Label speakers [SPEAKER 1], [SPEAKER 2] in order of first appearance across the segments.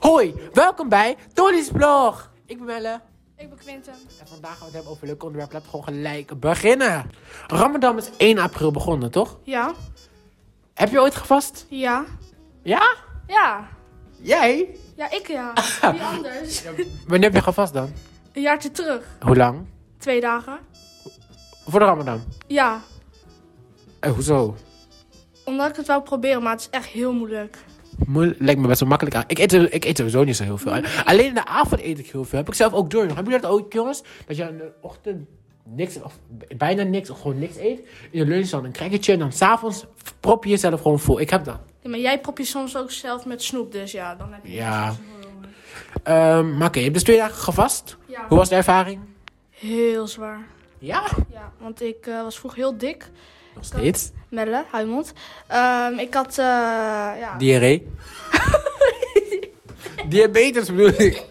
[SPEAKER 1] Hoi, welkom bij Tony's Blog. Ik ben Melle.
[SPEAKER 2] Ik ben Quinten.
[SPEAKER 1] En vandaag gaan we het hebben over leuke onderwerpen. Laten we gewoon gelijk beginnen. Ramadan is 1 april begonnen, toch?
[SPEAKER 2] Ja?
[SPEAKER 1] Heb je ooit gevast?
[SPEAKER 2] Ja?
[SPEAKER 1] Ja?
[SPEAKER 2] Ja.
[SPEAKER 1] Jij?
[SPEAKER 2] Ja, ik ja. Wie anders?
[SPEAKER 1] Wanneer heb je gevast dan?
[SPEAKER 2] Een jaartje terug.
[SPEAKER 1] Hoe lang?
[SPEAKER 2] Twee dagen.
[SPEAKER 1] Voor de Ramadan.
[SPEAKER 2] Ja.
[SPEAKER 1] Eh, hoezo?
[SPEAKER 2] Omdat ik het wou proberen, maar het is echt heel moeilijk.
[SPEAKER 1] Moe- lijkt me best wel makkelijk aan. Ik eet, ik eet sowieso niet zo heel veel. Alleen in de avond eet ik heel veel. Heb ik zelf ook door. Heb je dat ook, jongens? Dat je in de ochtend niks, of bijna niks, of gewoon niks eet. In de lunch dan een crackertje. En dan s'avonds prop je jezelf gewoon vol. Ik heb dat.
[SPEAKER 2] Ja, maar jij prop je soms ook zelf met snoep, dus ja, dan heb je
[SPEAKER 1] Ja.
[SPEAKER 2] niet zoveel honger.
[SPEAKER 1] Ehm, maar oké, je hebt dus twee dagen gevast.
[SPEAKER 2] Ja.
[SPEAKER 1] Hoe was de ervaring?
[SPEAKER 2] Heel zwaar.
[SPEAKER 1] Ja.
[SPEAKER 2] Ja, want ik eh, was vroeger heel dik.
[SPEAKER 1] Nog steeds.
[SPEAKER 2] Melle, hou je mond. Ehm, ik had, eh, ja.
[SPEAKER 1] Diarree. Diabetes bedoel ik.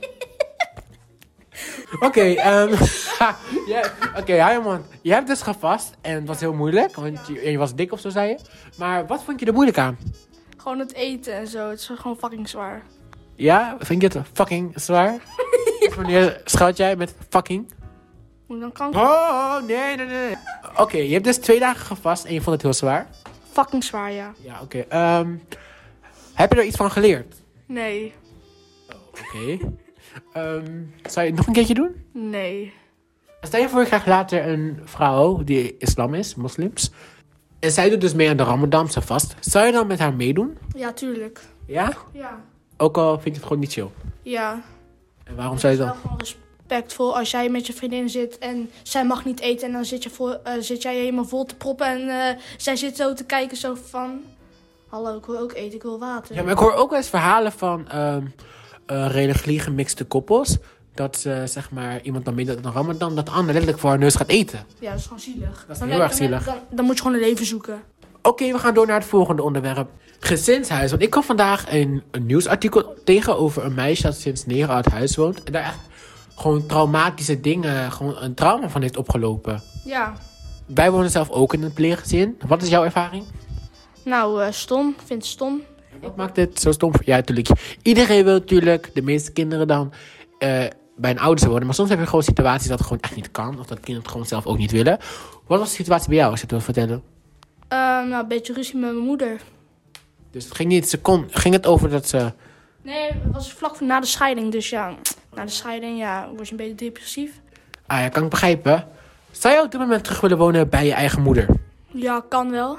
[SPEAKER 1] Oké, ehm ha, jij- Oké, Raymond, je hebt dus gevast en het was heel moeilijk, want je, je was dik of zo zei je. Maar wat vond je er moeilijk aan?
[SPEAKER 2] Gewoon het eten en zo. Het is gewoon fucking zwaar.
[SPEAKER 1] Ja, vind je het fucking zwaar? Dus Wanneer schuilt jij met fucking?
[SPEAKER 2] Moet ik dan kanker?
[SPEAKER 1] Oh, nee, nee, nee. Oké, je hebt dus twee dagen gevast en je vond het heel zwaar.
[SPEAKER 2] Fucking zwaar, ja.
[SPEAKER 1] Ja, oké. ehm, heb je er iets van geleerd?
[SPEAKER 2] Nee.
[SPEAKER 1] Oké. Ehm, zou je het nog een keertje doen?
[SPEAKER 2] Nee.
[SPEAKER 1] Stel je voor, ik krijg later een vrouw die islam is, moslims. En zij doet dus mee aan de Ramadamse vast. Zou je dan met haar meedoen?
[SPEAKER 2] Ja, tuurlijk.
[SPEAKER 1] Ja?
[SPEAKER 2] Ja.
[SPEAKER 1] Ook al vind je het gewoon niet chill.
[SPEAKER 2] Ja.
[SPEAKER 1] En waarom zou je
[SPEAKER 2] Het
[SPEAKER 1] dan?
[SPEAKER 2] is wel gewoon respectvol als jij met je vriendin zit en zij mag niet eten en dan zit, je voor, eh, zit jij je helemaal vol te proppen en eh, zij zit zo te kijken zo van... Hallo, ik wil ook eten, ik wil water.
[SPEAKER 1] Ja, maar ik hoor ook wel eens verhalen van ehm, eh, religie gemixte koppels. Dat ze, zeg maar, iemand dan meedoet aan de Ramadan, dat de ander letterlijk voor haar neus gaat eten.
[SPEAKER 2] Ja, dat is gewoon zielig.
[SPEAKER 1] Dat is
[SPEAKER 2] Dan
[SPEAKER 1] heel
[SPEAKER 2] heb-
[SPEAKER 1] erg
[SPEAKER 2] dan heb-
[SPEAKER 1] zielig.
[SPEAKER 2] Dan, dan moet je gewoon een leven zoeken.
[SPEAKER 1] Oké, we gaan door naar het volgende onderwerp. Gezinshuis. Want ik kwam vandaag een, een nieuwsartikel tegen over een meisje dat sinds negen uit huis woont. En daar echt gewoon traumatische dingen, gewoon een trauma van heeft opgelopen.
[SPEAKER 2] Ja.
[SPEAKER 1] Wij wonen zelf ook in een pleeggezin. Wat is jouw ervaring?
[SPEAKER 2] Nou, eh, stom. Ik vind het stom.
[SPEAKER 1] Wat maakt dit zo stom voor Ja, natuurlijk. Iedereen wil natuurlijk, de meeste kinderen dan, eh, bij een ouders wonen. Maar soms heb je gewoon situaties dat het gewoon echt niet kan. Of dat kinderen het gewoon zelf ook niet willen. Wat was de situatie bij jou, als je het wilt vertellen?
[SPEAKER 2] Eh, nou, een beetje ruzie met mijn moeder.
[SPEAKER 1] Dus het ging niet, ze kon, ging het over dat ze...
[SPEAKER 2] Nee, het was vlak voor- na de scheiding, dus ja... Na de scheiding, ja, word je een beetje depressief.
[SPEAKER 1] Ah ja, kan ik begrijpen. Zou je op dit moment terug willen wonen bij je eigen moeder?
[SPEAKER 2] Ja, kan wel.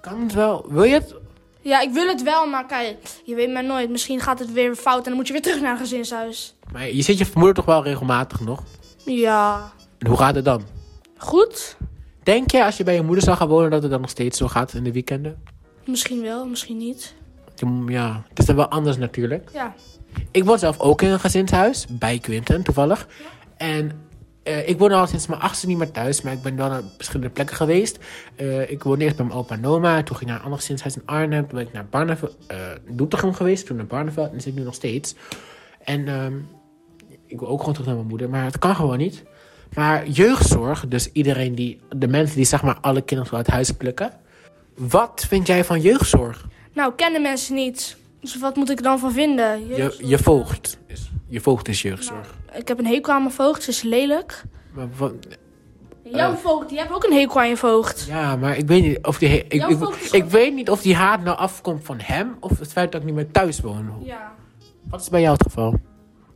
[SPEAKER 1] Kan het wel. Wil je het?
[SPEAKER 2] Ja, ik wil het wel, maar kijk, je weet maar nooit. Misschien gaat het weer fout en dan moet je weer terug naar een gezinshuis.
[SPEAKER 1] Maar je ziet je moeder toch wel regelmatig nog?
[SPEAKER 2] Ja.
[SPEAKER 1] En hoe gaat het dan?
[SPEAKER 2] Goed?
[SPEAKER 1] Denk je als je bij je moeder zou gaan wonen dat het dan nog steeds zo gaat in de weekenden?
[SPEAKER 2] Misschien wel, misschien niet.
[SPEAKER 1] Je- Ja, het is dan wel anders natuurlijk.
[SPEAKER 2] Ja.
[SPEAKER 1] Ik woon zelf ook in een gezinshuis, bij Quinten toevallig. En eh, ik woon al sinds mijn achtste niet meer thuis, maar ik ben wel naar verschillende plekken geweest. Eh, ik woonde eerst bij mijn opa en oma, toen ging ik naar een ander gezinshuis in Arnhem. Toen ben ik naar Barneveld, eh Doetinchem geweest, toen naar Barneveld en dan zit ik nu nog steeds. En ehm, ik wil ook gewoon terug naar mijn moeder, maar het kan gewoon niet. Maar jeugdzorg, dus iedereen die, de mensen die zeg maar alle kinderen uit huis plukken. Wat vind jij van jeugdzorg?
[SPEAKER 2] Nou, kennen mensen niet. Dus wat moet ik dan van vinden?
[SPEAKER 1] Je,
[SPEAKER 2] Jezus.
[SPEAKER 1] je voogd. is- Je voogd is jeugdzorg.
[SPEAKER 2] Nou, ik heb een hekel aan mijn voogd, ze is lelijk.
[SPEAKER 1] Maar wat- Eh.
[SPEAKER 2] Jouw voogd, die hebt ook een hekel aan je voogd.
[SPEAKER 1] ja, maar ik weet niet of die. he- Ik,
[SPEAKER 2] Jouw
[SPEAKER 1] ik,
[SPEAKER 2] voogd is
[SPEAKER 1] ik
[SPEAKER 2] ook-
[SPEAKER 1] weet niet of die haat nou afkomt van hem of het feit dat ik niet meer thuis woon.
[SPEAKER 2] Ja.
[SPEAKER 1] Wat is bij jou het geval?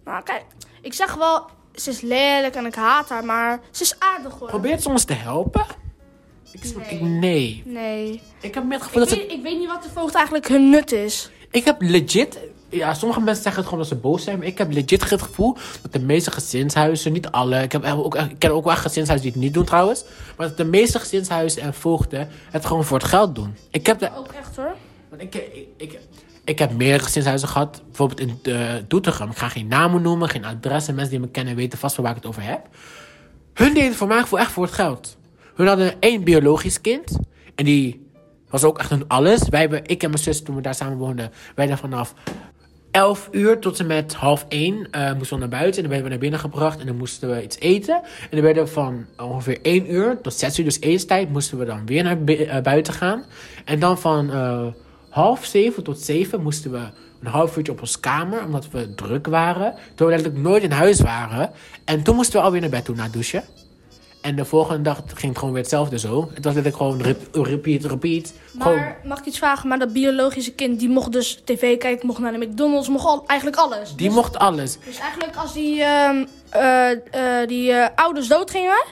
[SPEAKER 2] Nou, kijk, ik zeg wel, ze is lelijk en ik haat haar, maar ze is aardig hoor.
[SPEAKER 1] Probeert ze ons te helpen? Ik, snap- ik- nee.
[SPEAKER 2] Nee.
[SPEAKER 1] Ik heb meer het
[SPEAKER 2] Ik
[SPEAKER 1] gevoel dat ze.
[SPEAKER 2] weet, ik weet niet wat de voogd eigenlijk hun nut is.
[SPEAKER 1] Ik heb legit. Ja, sommige mensen zeggen het gewoon dat ze boos zijn. Maar ik heb legit het gevoel dat de meeste gezinshuizen, niet alle. Ik, heb echt ook, ik ken ook wel gezinshuizen die het niet doen trouwens. Maar dat de meeste gezinshuizen en voogden het gewoon voor het geld doen. Ik heb de
[SPEAKER 2] Ook echt hoor.
[SPEAKER 1] Want ik, ik, ik, ik heb meerdere gezinshuizen gehad. Bijvoorbeeld in eh, Doetinchem. Ik ga geen namen noemen, geen adressen. Mensen die me kennen weten vast wel waar ik het over heb. Hun deden voor mij gevoel echt voor het geld. Hun hadden één biologisch kind. En die was ook echt hun alles. Wij hebben, ik en mijn zus, toen we daar samen woonden... wij daar vanaf 11 uur tot en met half 1 eh, moesten we naar buiten. En dan werden we naar binnen gebracht en dan moesten we iets eten. En dan werden we van ongeveer 1 uur tot 6 uur, dus etenstijd, moesten we dan weer naar bi- eh, buiten gaan. En dan van eh, half 7 tot 7 moesten we een half uurtje op ons kamer, omdat we druk waren. Toen we letterlijk nooit in huis waren. En toen moesten we alweer naar bed toe, na douchen. En de volgende dag ging het gewoon weer hetzelfde zo. Het was letterlijk gewoon rep- repeat, repeat. Gewoon,
[SPEAKER 2] Maar mag ik iets vragen? Maar dat biologische kind die mocht dus tv kijken, mocht naar de McDonald's, mocht al, eigenlijk alles.
[SPEAKER 1] die mocht alles.
[SPEAKER 2] Dus eigenlijk als die, ehm, eh, eh, die eh, ouders doodgingen,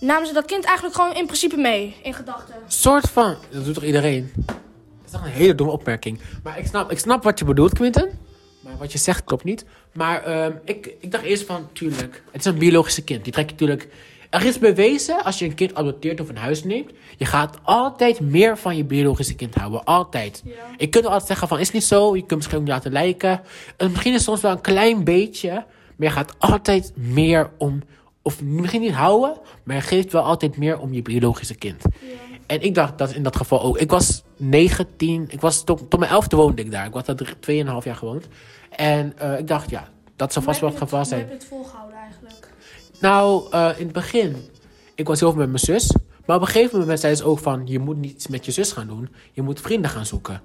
[SPEAKER 2] namen ze dat kind eigenlijk gewoon in principe mee, in gedachten.
[SPEAKER 1] soort van. Dat doet toch iedereen? Dat is toch een hele domme opmerking. Maar ik snap, ik snap wat je bedoelt, Quinten. Maar wat je zegt klopt niet. Maar ehm, ik, ik dacht eerst van, tuurlijk, het is een biologische kind. Die trek je natuurlijk... Er is bewezen, als je een kind adopteert of een huis neemt... je gaat altijd meer van je biologische kind houden. Altijd.
[SPEAKER 2] Ja.
[SPEAKER 1] Je kunt altijd zeggen van, is niet zo. Je kunt het misschien ook niet laten lijken. En misschien is het soms wel een klein beetje... maar je gaat altijd meer om... of misschien niet houden... maar je geeft wel altijd meer om je biologische kind. En ik dacht dat in dat geval ook. Ik was 19, ik was tot, tot mijn elfde woonde ik daar. Ik was daar drie- 2,5 jaar gewoond. En eh, ik dacht, ja, dat zou vast wel het geval zijn.
[SPEAKER 2] Heb je het volgehouden eigenlijk?
[SPEAKER 1] Nou, eh, in het begin, ik was heel veel met mijn zus. Maar op een gegeven moment zei ze ook van, je moet niets met je zus gaan doen. Je moet vrienden gaan zoeken.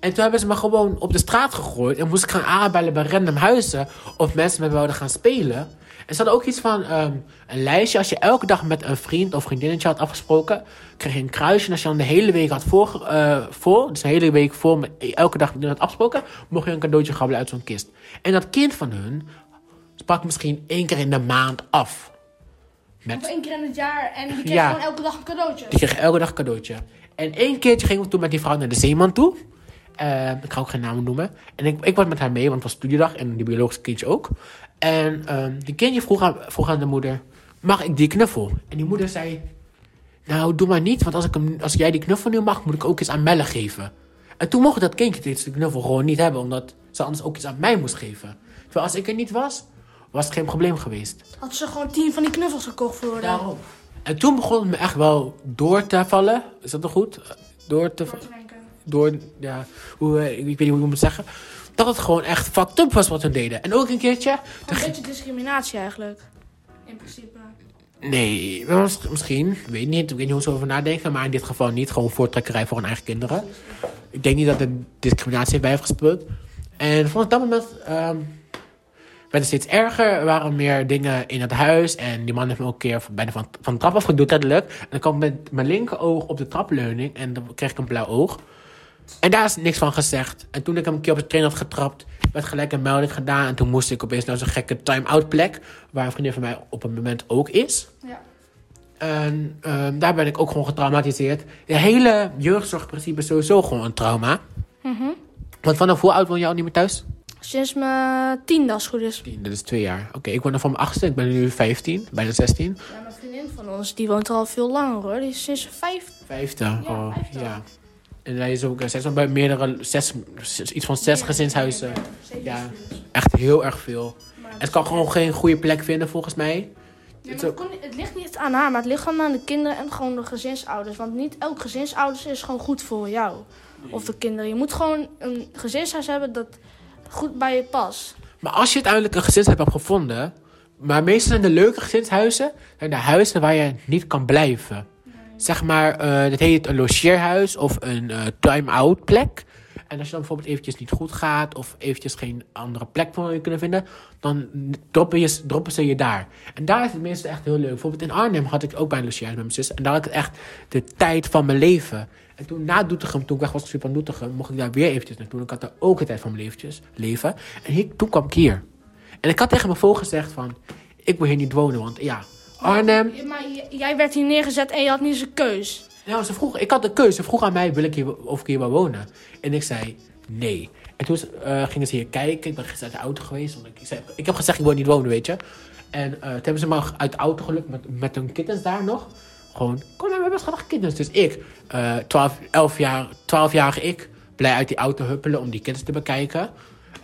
[SPEAKER 1] En toen hebben ze me gewoon op de straat gegooid. En moest ik gaan aanbellen bij random huizen. Of mensen met me wilden gaan spelen. En ze hadden ook iets van ehm, een lijstje. Als je elke dag met een vriend of vriendinnetje had afgesproken, kreeg je een kruisje. En als je dan de hele week had voor, eh, voor dus de hele week voor met elke dag met iemand had afgesproken, mocht je een cadeautje grabbelen uit zo'n kist. En dat kind van hun sprak misschien één keer in de maand af.
[SPEAKER 2] Of één keer in het jaar en die kreeg
[SPEAKER 1] Ja.
[SPEAKER 2] gewoon elke dag een cadeautje.
[SPEAKER 1] Die kreeg elke dag een cadeautje. En één keertje gingen we toen met die vrouw naar de zeeman toe. Eh, ik ga ook geen namen noemen. En ik, ik was met haar mee, want het was studiedag en die biologische kindje ook. En ehm, die kindje vroeg aan, vroeg aan de moeder: Mag ik die knuffel? En die moeder zei: Nou, doe maar niet, want als, ik hem, als jij die knuffel nu mag, moet ik ook iets aan Melle geven. En toen mocht dat kindje deze knuffel gewoon niet hebben, omdat ze anders ook iets aan mij moest geven. Terwijl als ik er niet was, was het geen probleem geweest.
[SPEAKER 2] Had ze gewoon tien van die knuffels gekocht voor haar.
[SPEAKER 1] Daarom. En toen begon het me echt wel door te vallen. Is dat nog goed? Door te
[SPEAKER 2] Voor
[SPEAKER 1] vallen.
[SPEAKER 2] te denken.
[SPEAKER 1] Door, ja, hoe, eh, ik weet niet hoe ik het moet zeggen. Dat het gewoon echt fucked up was wat hun deden. En ook een keertje. toen
[SPEAKER 2] Een
[SPEAKER 1] ging-
[SPEAKER 2] beetje discriminatie eigenlijk. In principe.
[SPEAKER 1] Nee, wel mis- misschien. Ik weet niet. Ik weet niet hoe ze over nadenken. Maar in dit geval niet. Gewoon voortrekkerij voor hun eigen kinderen. Ik denk niet dat er discriminatie heeft bij heeft gespeeld. En vanaf dat moment ehm, werd het steeds erger. Er waren meer dingen in het huis. En die man heeft me ook een keer bijna van, van de trap afgeduwd, letterlijk. En dan kwam met mijn linker oog op de trapleuning. En dan kreeg ik een blauw oog. En daar is niks van gezegd. En toen ik hem een keer op de train had getrapt, werd gelijk een melding gedaan. En toen moest ik opeens naar zo'n gekke time-out plek. Waar een vriendin van mij op het moment ook is.
[SPEAKER 2] Ja.
[SPEAKER 1] En ehm, daar ben ik ook gewoon getraumatiseerd. De hele jeugdzorgprincipe is sowieso gewoon een trauma. Want vanaf hoe oud woon je al niet meer thuis?
[SPEAKER 2] Sinds mijn tiende als het goed is.
[SPEAKER 1] Dat is twee jaar. Oké, ik woon er van mijn achtste. Ik ben nu 15, bijna 16.
[SPEAKER 2] Ja, mijn vriendin van ons, die woont er al veel langer hoor. Die is sinds vijf.
[SPEAKER 1] Vijfde. oh,
[SPEAKER 2] vijfde.
[SPEAKER 1] ja. En daar is ook eh, zes, bij meerdere, zes, zes- iets van zes gezinshuizen.
[SPEAKER 2] Zeven
[SPEAKER 1] Ja.
[SPEAKER 2] studies.
[SPEAKER 1] Echt heel erg veel.
[SPEAKER 2] Maar
[SPEAKER 1] Het kan gewoon geen goede plek vinden volgens mij.
[SPEAKER 2] Ja,
[SPEAKER 1] Het
[SPEAKER 2] maar
[SPEAKER 1] is
[SPEAKER 2] het, kon- het ligt niet aan haar, maar het ligt gewoon aan de kinderen en gewoon de gezinsouders. Want niet elk gezinsouders is gewoon goed voor jou. Of de kinderen. Je moet gewoon een gezinshuis hebben dat goed bij je past.
[SPEAKER 1] Maar als je uiteindelijk een gezinshuis hebt gevonden. Maar meestal zijn de leuke gezinshuizen. zijn de huizen waar je niet kan blijven. Zeg maar, eh dat heet een logeerhuis of een eh, time-out plek. En als je dan bijvoorbeeld eventjes niet goed gaat. of eventjes geen andere plek voor je kunnen vinden. dan droppen, je, droppen ze je daar. En daar is het meestal echt heel leuk. Bijvoorbeeld in Arnhem had ik ook bij een logeerhuis met mijn zus. En daar had ik echt de tijd van mijn leven. En toen na Doetinchem, toen ik weg was gestuurd van Doetinchem, mocht ik daar weer eventjes naartoe. En ik had daar ook de tijd van mijn leventjes, leven. En hier, toen kwam ik hier. En ik had tegen mijn voogd gezegd van, ik wil hier niet wonen, want ja, Arnhem.
[SPEAKER 2] Ja, Maar j- jij werd hier neergezet en je had niet eens een keus.
[SPEAKER 1] Nou, ze vroeg, ik had de keuze. Ze vroeg aan mij wil ik hier, of ik hier wil wonen. En ik zei nee. En toen eh, gingen ze hier kijken. Ik ben gisteren uit de auto geweest. Want ik, ik zei, ik heb gezegd, ik wil niet wonen, weet je. En eh, toen hebben ze me uit de auto gelukt met, met hun kittens daar nog. Gewoon, kom maar, we hebben schattige kittens. Dus ik, eh 12, 11 jaar, 12-jarige ik, blij uit die auto huppelen om die kittens te bekijken.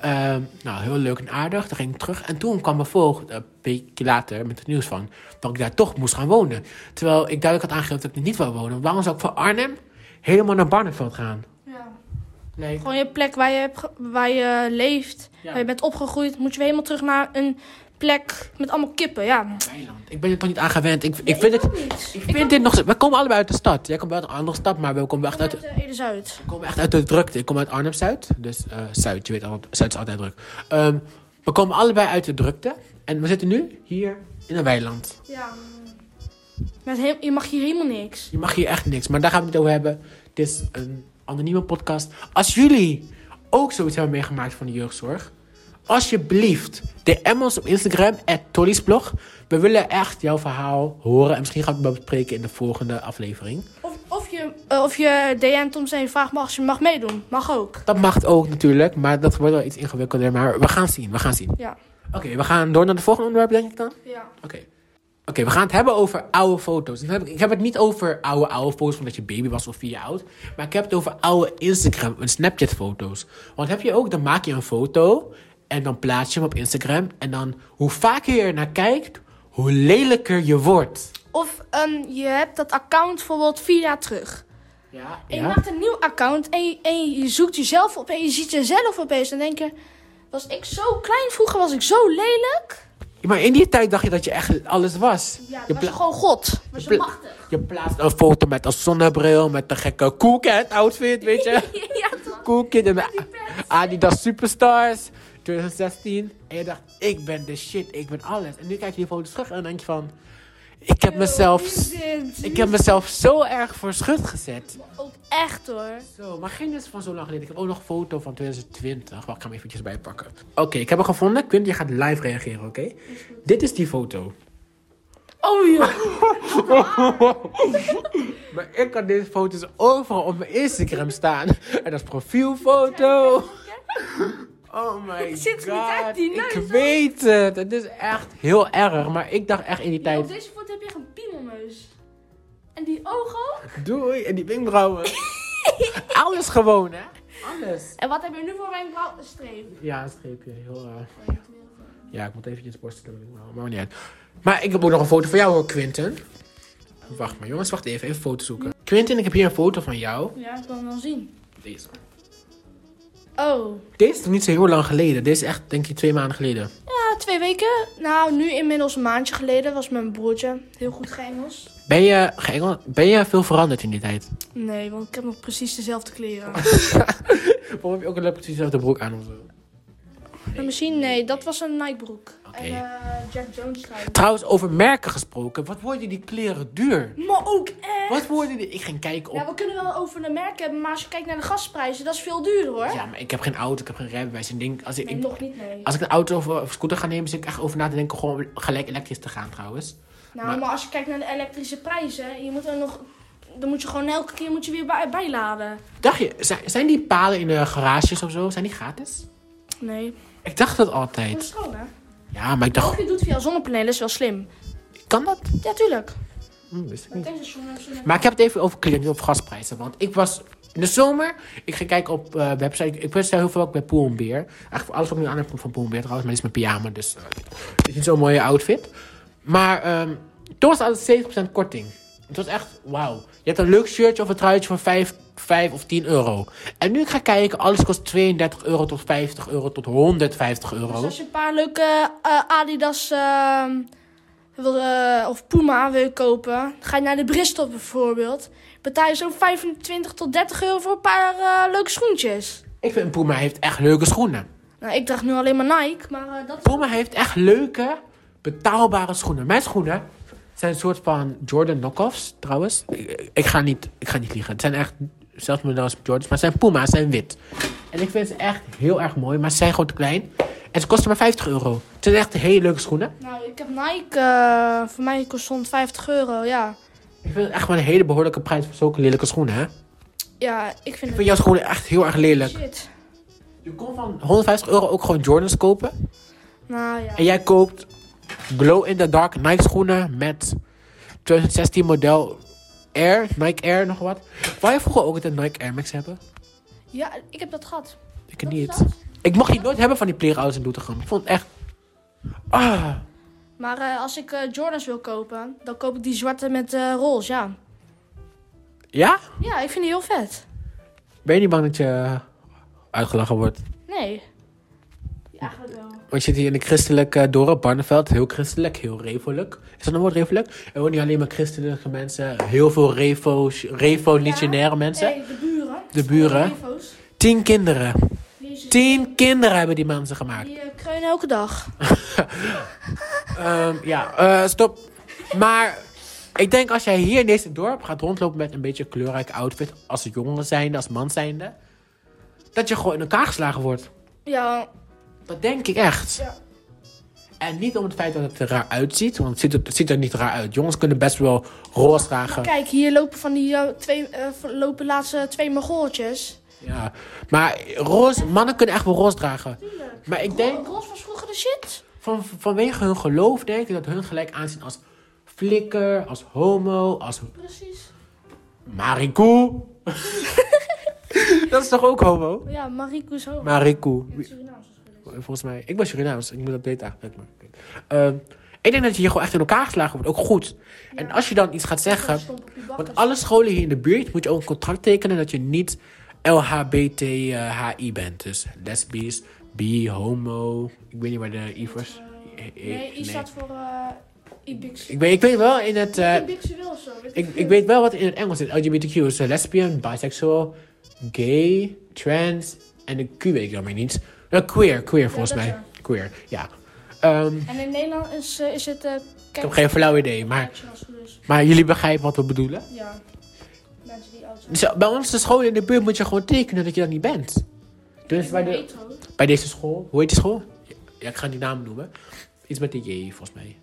[SPEAKER 1] Ehm, nou, heel leuk en aardig. Toen ging ik terug. En toen kwam mijn voogd, eh, een beetje later, met het nieuws van... dat ik daar toch moest gaan wonen. Terwijl ik duidelijk had aangegeven dat ik er niet wil wonen. Waarom zou ik van Arnhem helemaal naar Barneveld gaan? Nee.
[SPEAKER 2] Gewoon je plek waar je, hebt ge- waar je leeft,
[SPEAKER 1] Ja.
[SPEAKER 2] waar je bent opgegroeid, moet je weer helemaal terug naar een plek met allemaal kippen, ja.
[SPEAKER 1] Weiland. Ik ben er toch niet aan gewend. Ik, ik vind, het, ik vind dit nog... We komen allebei uit de stad. Jij komt uit een andere stad, maar we komen echt uit,
[SPEAKER 2] Met, eh, Ede-Zuid.
[SPEAKER 1] we komen echt uit de drukte. Ik kom uit Arnhem-Zuid. Dus eh, Zuid, je weet al, Zuid is altijd druk. Ehm, we komen allebei uit de drukte. En we zitten nu hier in een weiland.
[SPEAKER 2] Ja. Met heel- je mag hier helemaal niks.
[SPEAKER 1] Je mag hier echt niks, maar daar gaan we het niet over hebben. Dit is een anonieme podcast. Als jullie ook zoiets hebben meegemaakt van de jeugdzorg, alsjeblieft, DM ons op Instagram, @tollysblog. We willen echt jouw verhaal horen en misschien gaan we het bespreken in de volgende aflevering.
[SPEAKER 2] Of, of, je, eh, of je DM't om zijn vraag mag als je mag meedoen. Mag ook.
[SPEAKER 1] Dat mag ook natuurlijk, maar dat wordt wel iets ingewikkelder, maar we gaan zien, we gaan zien.
[SPEAKER 2] Ja.
[SPEAKER 1] Oké, we gaan door naar het volgende onderwerp, denk ik dan.
[SPEAKER 2] Ja.
[SPEAKER 1] Oké. Oké, we gaan het hebben over oude foto's. Ik heb, ik heb het niet over oude, oude foto's van dat je baby was of vier jaar oud. Maar ik heb het over oude Instagram en Snapchat foto's. Want heb je ook, dan maak je een foto en dan plaats je hem op Instagram. En dan, hoe vaker je er naar kijkt, hoe lelijker je wordt.
[SPEAKER 2] Of ehm, je hebt dat account bijvoorbeeld vier jaar terug.
[SPEAKER 1] Ja,
[SPEAKER 2] En je maakt een nieuw account en je, en je zoekt jezelf op en je ziet jezelf opeens. En denk je, was ik zo klein? Vroeger was ik zo lelijk.
[SPEAKER 1] Maar in die tijd dacht je dat je echt alles was.
[SPEAKER 2] Ja,
[SPEAKER 1] je,
[SPEAKER 2] was
[SPEAKER 1] pla-
[SPEAKER 2] gewoon God. Was
[SPEAKER 1] pla-
[SPEAKER 2] je machtig.
[SPEAKER 1] je plaatst een foto met een zonnebril, met een gekke cool cat outfit, weet je.
[SPEAKER 2] ja, toch?
[SPEAKER 1] Cool Kid en Adidas Superstars 2016. En je dacht, ik ben de shit, ik ben alles. En nu kijk je die foto's terug en dan denk je van... Ik heb mezelf,
[SPEAKER 2] Oh,
[SPEAKER 1] ik heb mezelf zo erg voor schut gezet.
[SPEAKER 2] Ook echt hoor.
[SPEAKER 1] Zo, maar geen is van zo lang geleden. Ik heb ook nog een foto van 2020. Wacht, ik ga hem eventjes bijpakken. Oké, ik heb hem gevonden. Quint, je gaat live reageren, oké? Dit is die foto.
[SPEAKER 2] Oh joh.
[SPEAKER 1] Maar ik kan deze foto's overal op mijn Instagram staan. En dat is profielfoto. Oh my
[SPEAKER 2] Het ziet er niet
[SPEAKER 1] god.
[SPEAKER 2] uit, die
[SPEAKER 1] ik
[SPEAKER 2] neus, hoor.
[SPEAKER 1] weet het. Het is echt heel erg. Maar ik dacht echt in die
[SPEAKER 2] Op
[SPEAKER 1] tijd.
[SPEAKER 2] deze voet heb je echt een piemelmuis. En die ogen?
[SPEAKER 1] Doei. En die wenkbrauwen. Alles gewoon, hè? Alles.
[SPEAKER 2] En wat heb je nu voor mijn streep? Oh,
[SPEAKER 1] Ja, een streepje. Heel erg. Ja, ik moet eventjes borstelen. met die wenkbrauwen, Maar niet uit. Maar ik heb ook nog een foto van jou hoor, Quinten. Wacht maar jongens, wacht even. Even foto zoeken. Quinten, ik heb hier een foto van jou.
[SPEAKER 2] Ja, ik kan hem wel zien.
[SPEAKER 1] Deze.
[SPEAKER 2] Oh.
[SPEAKER 1] Deze is nog niet zo heel lang geleden. Deze is echt, denk ik, twee maanden geleden.
[SPEAKER 2] Ja, twee weken. Nou, nu inmiddels een maandje geleden was mijn broertje heel goed geëngels.
[SPEAKER 1] Ben je, geëngel- ben je veel veranderd in die tijd?
[SPEAKER 2] Nee, want ik heb nog precies dezelfde
[SPEAKER 1] Oh,
[SPEAKER 2] kleren.
[SPEAKER 1] Waarom heb je ook een precies dezelfde broek aan of zo?
[SPEAKER 2] Maar misschien, nee, dat was een Nike-broek.
[SPEAKER 1] Oké.
[SPEAKER 2] En eh, Jack Jones trui.
[SPEAKER 1] Trouwens, over merken gesproken. Wat worden die kleren duur?
[SPEAKER 2] Maar ook echt.
[SPEAKER 1] Wat worden die... Ik ging kijken
[SPEAKER 2] Ja,
[SPEAKER 1] op...
[SPEAKER 2] we kunnen wel over de merken hebben, maar als je kijkt naar de gasprijzen, dat is veel duurder hoor.
[SPEAKER 1] Ja, Ah, maar ik heb geen auto, ik heb geen rijbewijs. En denk, als, ik,
[SPEAKER 2] Nee,
[SPEAKER 1] ik-
[SPEAKER 2] nog niet, nee.
[SPEAKER 1] als ik een auto of, of scooter ga nemen, zit ik echt over na te denken... gewoon gelijk elektrisch te gaan trouwens.
[SPEAKER 2] nou,
[SPEAKER 1] maar-
[SPEAKER 2] maar... als je kijkt naar de elektrische prijzen, je moet er nog... Dan moet je gewoon elke keer moet je weer bij, bijladen.
[SPEAKER 1] Dacht je, zijn, zijn die palen in de garages of zo, zijn die gratis?
[SPEAKER 2] Nee.
[SPEAKER 1] Ik dacht dat
[SPEAKER 2] Dat
[SPEAKER 1] altijd.
[SPEAKER 2] is schoon, hè?
[SPEAKER 1] Ja, maar ik
[SPEAKER 2] Of
[SPEAKER 1] dacht...
[SPEAKER 2] je doet via zonnepanelen, is wel slim.
[SPEAKER 1] Kan dat?
[SPEAKER 2] Ja, tuurlijk.
[SPEAKER 1] Hm, wist ik niet.
[SPEAKER 2] Met deze zonne-
[SPEAKER 1] Maar ik heb het even over kleren, niet over gasprijzen. Want ik was in de zomer, ik ging kijken op eh website. Ik bestel heel veel ook bij Poel en Beer. Eigenlijk voor alles wat ik nu aan heb komt van Poel en Beer trouwens. Maar dit is mijn pyjama, dus eh, het is niet zo'n mooie outfit. Maar ehm toen was het altijd 70% korting. Het was echt, wauw. Je hebt een leuk shirtje of een truitje voor 5, 5 of 10 euro. En nu ik ga kijken, alles kost 32 euro tot 50 euro tot 150
[SPEAKER 2] Dus
[SPEAKER 1] euro.
[SPEAKER 2] als je een paar leuke eh, Adidas ehm, wil, eh, of Puma wil kopen, ga je naar de Bristol bijvoorbeeld. Betaal je zo'n 25 tot 30 euro voor een paar eh, leuke schoentjes.
[SPEAKER 1] Ik vind Puma heeft echt leuke schoenen.
[SPEAKER 2] Nou, ik dacht nu alleen maar Nike, maar eh, dat is...
[SPEAKER 1] Puma heeft echt leuke, betaalbare schoenen. Mijn schoenen zijn een soort van Jordan knockoffs, trouwens. Ik, ik, ga, niet, ik ga niet liegen. Het zijn echt zelfs modellen als Jordans, maar het zijn Puma's, zijn wit. En ik vind ze echt heel erg mooi, maar ze zijn gewoon te klein. En ze kosten maar 50 euro. Het zijn echt hele leuke schoenen.
[SPEAKER 2] Nou, ik heb Nike, eh, voor mij kost het 50 euro, ja.
[SPEAKER 1] Ik vind het echt wel een hele behoorlijke prijs voor zulke lelijke schoenen, hè?
[SPEAKER 2] Ja, ik vind
[SPEAKER 1] Ik
[SPEAKER 2] het
[SPEAKER 1] vind jouw schoenen echt heel erg lelijk.
[SPEAKER 2] shit.
[SPEAKER 1] Je kon van 150 euro ook gewoon Jordans kopen.
[SPEAKER 2] Nou ja,
[SPEAKER 1] En jij koopt glow-in-the-dark Nike schoenen met 2016 model Air, Nike Air, nog wat. Wou je vroeger ook altijd Nike Air Max hebben?
[SPEAKER 2] ja ik heb dat gehad.
[SPEAKER 1] Ik
[SPEAKER 2] Dat is
[SPEAKER 1] niet.
[SPEAKER 2] dat.
[SPEAKER 1] Ik mocht die nooit hebben van die pleerouders in Doetinchem. Ik vond het echt... Ah,
[SPEAKER 2] Maar eh, als ik eh, Jordans wil kopen, dan koop ik die zwarte met eh roze, ja.
[SPEAKER 1] ja?
[SPEAKER 2] Ja, ik vind die heel vet.
[SPEAKER 1] eh, Ben je niet bang dat je uitgelachen wordt?
[SPEAKER 2] Nee. Eigenlijk wel.
[SPEAKER 1] Want je zit hier in een christelijk eh, dorp, Barneveld. Heel christelijk, heel revolijk. Is dat een woord, revolijk? Er wonen niet alleen maar christelijke mensen. Heel veel revo, revolutionaire mensen.
[SPEAKER 2] Hey, de buren.
[SPEAKER 1] De buren.
[SPEAKER 2] De revo's.
[SPEAKER 1] Tien kinderen.
[SPEAKER 2] Die-
[SPEAKER 1] Tien kinderen hebben die mensen gemaakt.
[SPEAKER 2] Die eh, kreunen elke dag.
[SPEAKER 1] Ehm, ja, eh, stop. Maar ik denk als jij hier in deze dorp gaat rondlopen met een beetje een kleurrijk outfit. Als jongen zijnde, als man zijnde. Dat je gewoon in elkaar geslagen wordt.
[SPEAKER 2] Ja,
[SPEAKER 1] Dat denk ik echt.
[SPEAKER 2] Ja.
[SPEAKER 1] En niet om het feit dat het er raar uitziet, want het ziet er, het ziet er niet raar uit. Jongens kunnen best wel roze dragen.
[SPEAKER 2] kijk, hier lopen van die eh, twee, eh, van- lopen laatste twee Mongooltjes.
[SPEAKER 1] Ja. Maar roze, mannen kunnen echt wel roze dragen. Maar ik denk,
[SPEAKER 2] Ro- Ros was vroeger de shit.
[SPEAKER 1] van, vanwege hun geloof, denk ik dat hun gelijk aanzien als flikker, als homo, als
[SPEAKER 2] Precies.
[SPEAKER 1] Marikoe. dat is toch ook homo?
[SPEAKER 2] Ja, Marikoe zo.
[SPEAKER 1] Marikoe.
[SPEAKER 2] Surinaams waarschijnlijk.
[SPEAKER 1] Volgens mij, ik ben Surinaams, ik moet dat weten eigenlijk. Maar, Ehm, ik denk dat je hier gewoon echt in elkaar geslagen wordt, ook goed. En als je dan iets gaat zeggen,
[SPEAKER 2] Stomp op je bakkers.
[SPEAKER 1] Want alle scholen hier in de buurt moet je ook een contract tekenen dat je niet LHBTHI bent. Dus lesbisch, bi, homo. Ik weet niet waar de I voor is. I- I-
[SPEAKER 2] Nee, I staat voor eh Ibix.
[SPEAKER 1] Ik, weet, ik weet wel in het. eh,
[SPEAKER 2] Ibixueel of zo.
[SPEAKER 1] ik, ik weet wel wat in het Engels is. LGBTQ is eh, lesbian, bisexual, gay, trans en de Q weet ik dan weer niet. Eh, queer, queer volgens
[SPEAKER 2] dat
[SPEAKER 1] mij. Queer, ja. Ehm,
[SPEAKER 2] En in Nederland is, eh, is het... eh
[SPEAKER 1] ik heb geen flauw idee, maar, maar jullie begrijpen wat we bedoelen.
[SPEAKER 2] Ja. Mensen die oud zijn.
[SPEAKER 1] Dus bij onze school in de buurt moet je gewoon tekenen dat je dat niet bent. Dus bij, de,
[SPEAKER 2] Retro.
[SPEAKER 1] bij deze school, hoe heet die school? Ja, ik ga die naam noemen. Iets met de J volgens mij.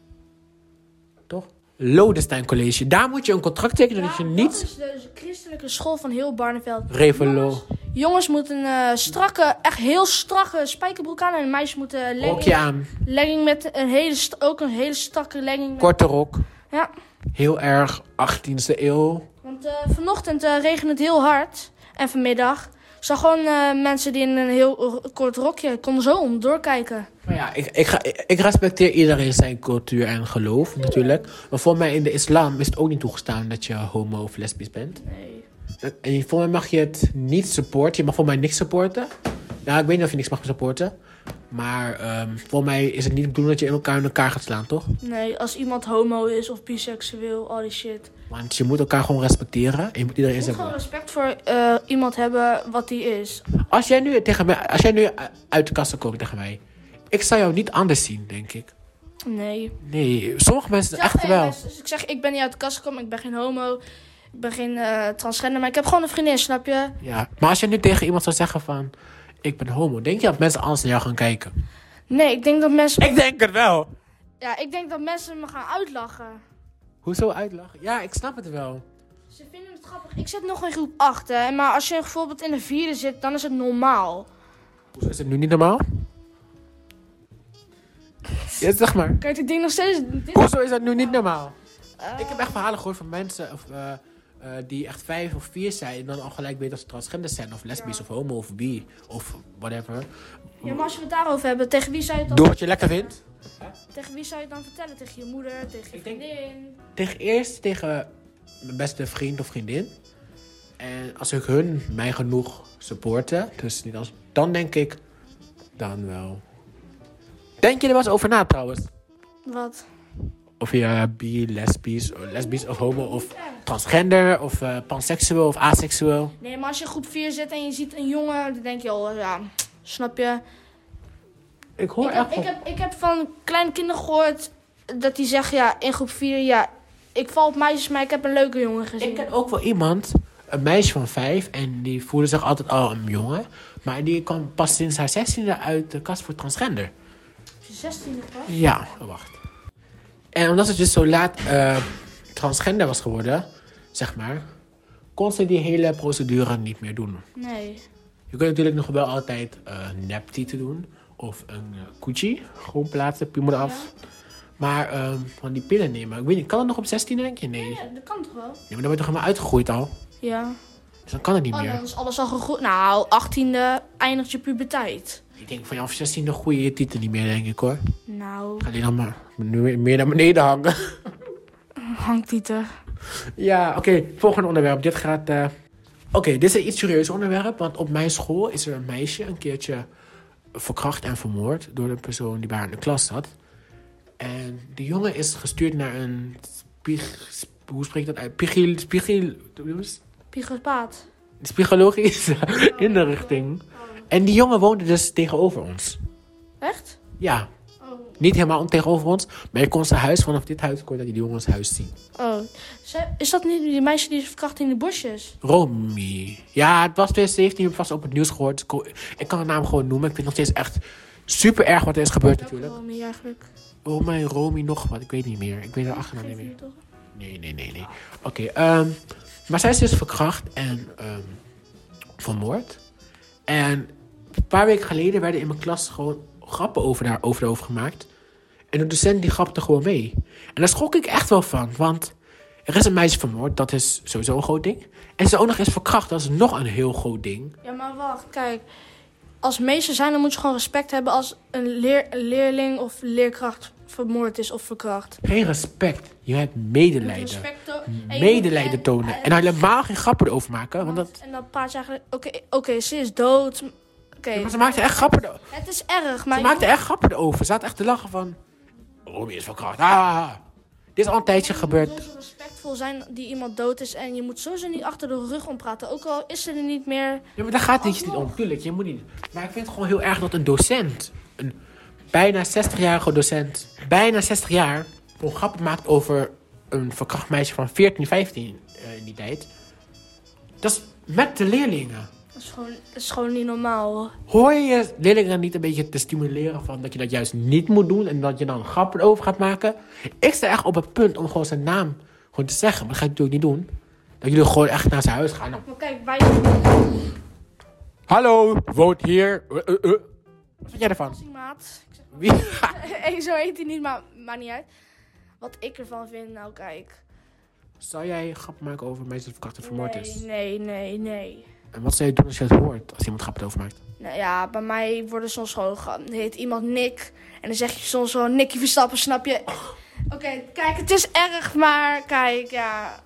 [SPEAKER 1] Toch? Lodestein College. Daar moet je een contract tekenen dat je
[SPEAKER 2] Ja,
[SPEAKER 1] niet
[SPEAKER 2] Dat is de christelijke school van heel Barneveld.
[SPEAKER 1] revelo
[SPEAKER 2] Jongens moeten een strakke, echt heel strakke spijkerbroek aan. En meisjes moeten een legging,
[SPEAKER 1] rokje aan,
[SPEAKER 2] legging met een hele, st- ook een hele strakke legging. met-
[SPEAKER 1] korte rok.
[SPEAKER 2] Ja,
[SPEAKER 1] Heel erg 18e eeuw.
[SPEAKER 2] want eh, vanochtend eh regende het heel hard. En vanmiddag. Ik zag gewoon eh, mensen die in een heel ro- kort rokje konden zo onderdoor kijken.
[SPEAKER 1] Maar ja, ik, ik, ga- ik- ik respecteer iedereen zijn cultuur en geloof natuurlijk. Maar voor mij in de islam is het ook niet toegestaan dat je homo of lesbisch bent.
[SPEAKER 2] Nee.
[SPEAKER 1] En je- voor mij mag je het niet supporten. Je mag voor mij niks supporten. Nou, ik weet niet of je niks mag supporten. Maar ehm voor mij is het niet de bedoeling dat je in elkaar in elkaar gaat slaan, toch?
[SPEAKER 2] Nee, als iemand homo is of biseksueel, al die shit.
[SPEAKER 1] Want je moet elkaar gewoon respecteren. En je moet iedereen
[SPEAKER 2] Je moet
[SPEAKER 1] zijn.
[SPEAKER 2] gewoon respect voor eh, iemand hebben wat die is.
[SPEAKER 1] Als jij nu tegen mij, als jij nu u- uit de kast komt tegen mij, ik zou jou niet anders zien, denk ik.
[SPEAKER 2] Nee.
[SPEAKER 1] Nee, sommige mensen
[SPEAKER 2] Zeg,
[SPEAKER 1] echt
[SPEAKER 2] hey,
[SPEAKER 1] wel.
[SPEAKER 2] luister, als dus ik zeg, ik ben niet uit de kast gekomen, ik ben geen homo, ik ben geen eh, transgender, maar ik heb gewoon een vriendin, snap je?
[SPEAKER 1] Ja. Maar als jij nu tegen iemand zou zeggen van, ik ben homo, denk je dat mensen anders naar jou gaan kijken?
[SPEAKER 2] Nee, ik denk dat mensen,
[SPEAKER 1] Ik denk het wel.
[SPEAKER 2] ja, ik denk dat mensen me gaan uitlachen.
[SPEAKER 1] Hoezo uitlachen? Ja, ik snap het wel.
[SPEAKER 2] Ze vinden het grappig. Ik zit nog in groep 8, hè, maar als je bijvoorbeeld in de vierde zit, dan is het normaal.
[SPEAKER 1] Hoezo is het nu niet normaal? Ja, zeg maar.
[SPEAKER 2] Kijk, ik denk nog steeds... dit-
[SPEAKER 1] Hoezo is dat nu niet normaal?
[SPEAKER 2] eh,
[SPEAKER 1] Ik heb echt verhalen gehoord van mensen of, eh, eh, die echt vijf of vier zijn en dan al gelijk weten of ze transgender zijn of lesbisch
[SPEAKER 2] Ja.
[SPEAKER 1] of homo of bi of whatever.
[SPEAKER 2] ja, maar als we het daarover hebben, tegen wie zou je het dan,
[SPEAKER 1] Doe wat je lekker vindt.
[SPEAKER 2] tegen wie zou je het dan vertellen? Tegen je moeder, tegen je
[SPEAKER 1] Ik denk-
[SPEAKER 2] vriendin?
[SPEAKER 1] Tegen eerst tegen mijn beste vriend of vriendin. En als ik hun mij genoeg supporten, dus niet als, dan denk ik, dan wel. Denk je er wel eens over na trouwens?
[SPEAKER 2] Wat?
[SPEAKER 1] Of je eh, bi, lesbisch, eh, lesbisch of homo of transgender of eh, panseksueel of aseksueel.
[SPEAKER 2] Nee, maar als je in groep 4 zit en je ziet een jongen, dan denk je al, ja, snap je?
[SPEAKER 1] Ik hoor
[SPEAKER 2] Ik heb, ik, heb, ik heb van kleine kinderen gehoord dat die zeggen, ja, in groep 4, ja, ik val op meisjes, maar ik heb een leuke jongen gezien.
[SPEAKER 1] Ik ken ook wel iemand, een meisje van vijf, en die voelde zich altijd al een jongen. Maar die kwam pas sinds haar zestiende uit de kast voor transgender.
[SPEAKER 2] 16 pas.
[SPEAKER 1] Ja, wacht. En omdat ze dus zo laat eh, transgender was geworden, zeg maar, kon ze die hele procedure niet meer doen.
[SPEAKER 2] Nee.
[SPEAKER 1] Je kunt natuurlijk nog wel altijd eh neptieten doen. Of een eh, coochie. Gewoon plaatsen, piemel af. Maar ehm, van die pillen nemen. Ik weet niet, kan dat nog op 16 denk je? Nee. Nee,
[SPEAKER 2] Ja, dat kan toch wel?
[SPEAKER 1] maar dan ben je toch helemaal uitgegroeid al.
[SPEAKER 2] Ja.
[SPEAKER 1] Dus dan kan het niet
[SPEAKER 2] Oh,
[SPEAKER 1] meer.
[SPEAKER 2] dan is alles al gegroeid. Nou, 18e eindigt je puberteit.
[SPEAKER 1] Ik denk van ja, op 16 groeien je tieten niet meer, denk ik hoor.
[SPEAKER 2] Nou,
[SPEAKER 1] Ga die dan maar nu weer meer naar beneden hangen.
[SPEAKER 2] hangt die er.
[SPEAKER 1] Ja, oké, volgende onderwerp. Dit gaat. eh, Oké, dit is een iets serieus onderwerp. Want op mijn school is er een meisje een keertje verkracht en vermoord door de persoon die bij haar in de klas zat. En de jongen is gestuurd naar een. Spieg, hoe spreek je dat uit? Pigiel, spiegel,
[SPEAKER 2] Psychopaat.
[SPEAKER 1] psychologische inrichting. En die jongen woonde dus tegenover ons.
[SPEAKER 2] Echt?
[SPEAKER 1] Ja,
[SPEAKER 2] Oh.
[SPEAKER 1] niet helemaal tegenover ons, maar je kon zijn huis vanaf dit huis kon je dat die jongens huis zien.
[SPEAKER 2] Oh. Ze- Is dat niet die meisje die is verkracht in de bosjes?
[SPEAKER 1] Romy. Ja, het was 2017, je hebt vast op het nieuws gehoord. Ko- Ik kan de naam gewoon noemen. Ik vind het nog steeds echt super erg wat er is gebeurd natuurlijk.
[SPEAKER 2] Oh, nee, eigenlijk.
[SPEAKER 1] Oh mijn Romy nog wat, ik weet niet meer. Ik weet haar achternaam niet
[SPEAKER 2] Geef
[SPEAKER 1] meer.
[SPEAKER 2] niet, toch?
[SPEAKER 1] Nee, nee, nee, nee. Oké, ehm, maar zij is dus verkracht en ehm, vermoord. En een paar weken geleden werden in mijn klas gewoon grappen over haar over, over gemaakt. En de docent die grapte gewoon mee. En daar schrok ik echt wel van, want er is een meisje vermoord, dat is sowieso een groot ding. En ze is ook nog eens verkracht, dat is nog een heel groot ding.
[SPEAKER 2] Ja, maar wacht, kijk. Als meester zijn, dan moet je gewoon respect hebben als een, leer, een leerling of leerkracht vermoord is of verkracht.
[SPEAKER 1] Geen respect, je hebt
[SPEAKER 2] Je moet
[SPEAKER 1] medelijden.
[SPEAKER 2] respect to- en je moet-
[SPEAKER 1] Medelijden
[SPEAKER 2] en-
[SPEAKER 1] tonen. En helemaal geen grappen erover maken, want dat...
[SPEAKER 2] En dan praat je eigenlijk, oké, oké, ze is dood. Oké,
[SPEAKER 1] Maar ze maakte echt grappen erover.
[SPEAKER 2] het is erg,
[SPEAKER 1] Ze
[SPEAKER 2] maar...
[SPEAKER 1] maakte echt grappen erover. Ze had echt te lachen van... Romy is verkracht. Ah, dit is al een tijdje
[SPEAKER 2] Je moet
[SPEAKER 1] gebeurd.
[SPEAKER 2] zo respectvol zijn die iemand dood is en je moet sowieso niet achter de rug om praten. Ook al is ze er niet meer.
[SPEAKER 1] Ja, maar daar gaat het niet om. Tuurlijk, je moet niet... Maar ik vind het gewoon heel erg dat een docent... Een bijna 60-jarige docent... Bijna 60 jaar... Gewoon grappen maakt over een verkracht meisje van 14, 15 eh, in die tijd. Dat is met de leerlingen.
[SPEAKER 2] Dat is gewoon, dat is gewoon niet normaal. hoor.
[SPEAKER 1] Hoor je leerlingen niet een beetje te stimuleren van dat je dat juist niet moet doen en dat je dan grappen over gaat maken? Ik sta echt op het punt om gewoon zijn naam gewoon te zeggen, maar dat ga ik natuurlijk niet doen. Dat jullie gewoon echt naar zijn huis gaan. Dan,
[SPEAKER 2] Maar kijk, wij
[SPEAKER 1] Hallo, woont hier. Eh, eh, eh. Wat vind jij ervan?
[SPEAKER 2] maat. Ik zeg-
[SPEAKER 1] Wie?
[SPEAKER 2] Hey, zo heet hij niet, maar maakt niet uit. Wat ik ervan vind, nou kijk.
[SPEAKER 1] Zou jij grappen maken over een meisje dat verkracht en vermoord
[SPEAKER 2] nee,
[SPEAKER 1] is?
[SPEAKER 2] nee, nee, nee.
[SPEAKER 1] En wat zou je doen als je het hoort, als iemand grappen over maakt?
[SPEAKER 2] Nou ja, bij mij worden soms gewoon ge- heet iemand Nick. En dan zeg je soms gewoon Nicky Verstappen, snap je?
[SPEAKER 1] Oh.
[SPEAKER 2] Oké, kijk, het is erg, maar kijk, ja.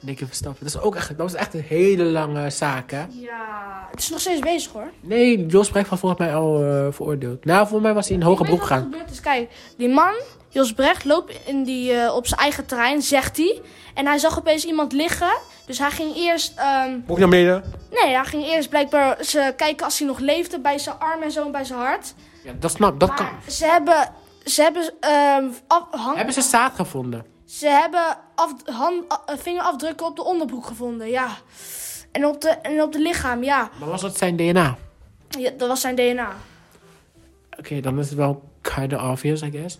[SPEAKER 1] Denk je verstappen. Dat, is ook echt, dat was echt een hele lange zaak, hè?
[SPEAKER 2] Ja. Het is nog steeds bezig hoor.
[SPEAKER 1] Nee, Jos Brecht was volgens mij al eh, veroordeeld. Nou, volgens mij was hij in hoge
[SPEAKER 2] Ik weet
[SPEAKER 1] broek
[SPEAKER 2] wat
[SPEAKER 1] gaan.
[SPEAKER 2] er gebeurd is. Kijk, die man, Jos Brecht, loopt in die, eh, op zijn eigen terrein, zegt hij. En hij zag opeens iemand liggen. Dus hij ging eerst. ehm,
[SPEAKER 1] Moet naar beneden?
[SPEAKER 2] nee, hij ging eerst blijkbaar ze kijken als hij nog leefde bij zijn arm en zo en bij zijn hart.
[SPEAKER 1] Ja, dat snap, dat kan.
[SPEAKER 2] Maar ze hebben. Ze hebben. ehm, af- hang-
[SPEAKER 1] Hebben ze zaad gevonden?
[SPEAKER 2] Ze hebben af, hand, a- eh, vingerafdrukken op de onderbroek gevonden, ja. En op, de, en op de lichaam, ja.
[SPEAKER 1] Maar was dat zijn DNA?
[SPEAKER 2] ja. Dat was zijn DNA.
[SPEAKER 1] Oké, dan is het wel kinda obvious, I guess.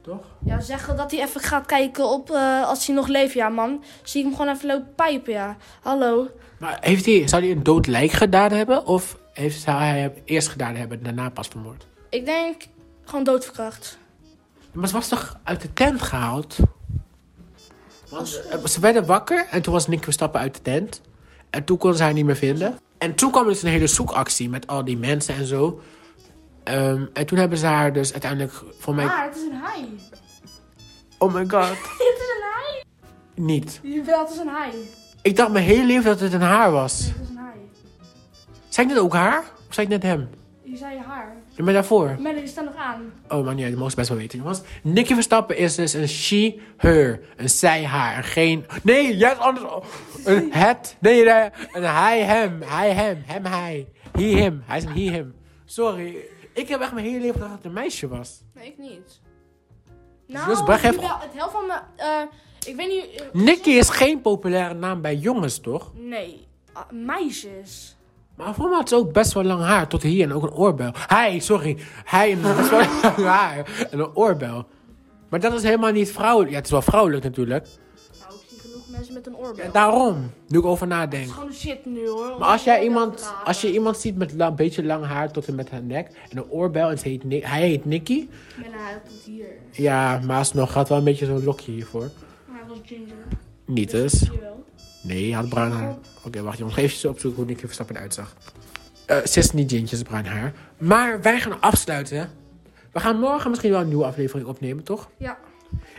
[SPEAKER 1] Toch?
[SPEAKER 2] Ja, zeggen dat hij even gaat kijken op eh, als hij nog leeft, ja man. Zie ik hem gewoon even lopen pijpen, ja. Hallo.
[SPEAKER 1] Maar heeft hij, zou hij een dood lijk gedaan hebben? Of heeft, zou hij hem eerst gedaan hebben en daarna pas vermoord?
[SPEAKER 2] Ik denk gewoon doodverkracht.
[SPEAKER 1] Maar ze was toch uit de tent gehaald? Want, eh, ze werden wakker en toen was Nick Verstappen uit de tent. En toen kon ze haar niet meer vinden. En toen kwam dus een hele zoekactie met al die mensen en zo. Ehm, en toen hebben ze haar dus uiteindelijk voor mij...
[SPEAKER 2] Ah, het is een haai.
[SPEAKER 1] Oh my god.
[SPEAKER 2] het is een haai.
[SPEAKER 1] Niet.
[SPEAKER 2] Jawel, het is een haai.
[SPEAKER 1] Ik dacht mijn hele leven dat het een haar was.
[SPEAKER 2] Het is een haai.
[SPEAKER 1] Zijn ik net ook haar? Of zijn ik net hem?
[SPEAKER 2] Je zei je haar.
[SPEAKER 1] Ik ben daarvoor.
[SPEAKER 2] Maar die staat nog aan.
[SPEAKER 1] Oh, maar nee, dat mogen ze best wel weten, jongens. Nicky Verstappen is dus een she, her. Een zij, haar. Een geen... Nee, juist andersom. Een het. Nee, nee. Een hij, hem. Hij, hem. Hem, hij. He, him. Hij is een he, him. Sorry. Ik heb echt mijn hele leven gedacht dat het een meisje was.
[SPEAKER 2] Nee, ik niet.
[SPEAKER 1] Dus Bach heeft-
[SPEAKER 2] jawel, Nou, het helft van mijn... eh, ik weet niet... eh,
[SPEAKER 1] Nicky is geen populaire naam bij jongens, toch?
[SPEAKER 2] Nee. Ah, meisjes.
[SPEAKER 1] Maar voor mij had ze ook best wel lang haar. Tot hier en ook een oorbel. Hij, sorry. Hij en best wel lang haar. En een oorbel. Maar dat is helemaal niet vrouwelijk. Ja, het is wel vrouwelijk natuurlijk.
[SPEAKER 2] Nou, ik zie genoeg mensen met een oorbel.
[SPEAKER 1] En daarom, nu ik over
[SPEAKER 2] Het
[SPEAKER 1] nadenk.
[SPEAKER 2] is gewoon de shit nu, hoor.
[SPEAKER 1] Maar als, jij iemand, als je iemand ziet met een beetje lang haar tot en met haar nek en een oorbel en ze heet Ni- hij heet Nicky.
[SPEAKER 2] Met een huid tot hier.
[SPEAKER 1] Ja, maar alsnog gaat wel een beetje zo'n lokje hiervoor.
[SPEAKER 2] Maar hij was ginger.
[SPEAKER 1] Niet eens.
[SPEAKER 2] Jawel.
[SPEAKER 1] Nee, hij had bruin haar. Oké, wacht jongens. Even zo opzoeken hoe Nicky Verstappen eruit zag. Eh, Ze is niet Jintjes bruin haar. Maar wij gaan afsluiten. We gaan morgen misschien wel een nieuwe aflevering opnemen, toch?
[SPEAKER 2] Ja.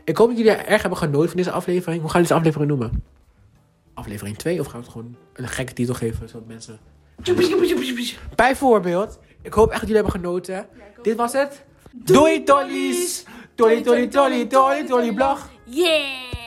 [SPEAKER 1] Ik hoop dat jullie erg hebben genoten van deze aflevering. Hoe gaan we deze aflevering noemen? Aflevering 2 of gaan we het gewoon een gekke titel geven zodat mensen Bijvoorbeeld, ik hoop echt dat jullie hebben genoten. Dit was het. Doei, dollies! Dolly, dolly, dolly, dolly, dolly, blog.
[SPEAKER 2] Yeah!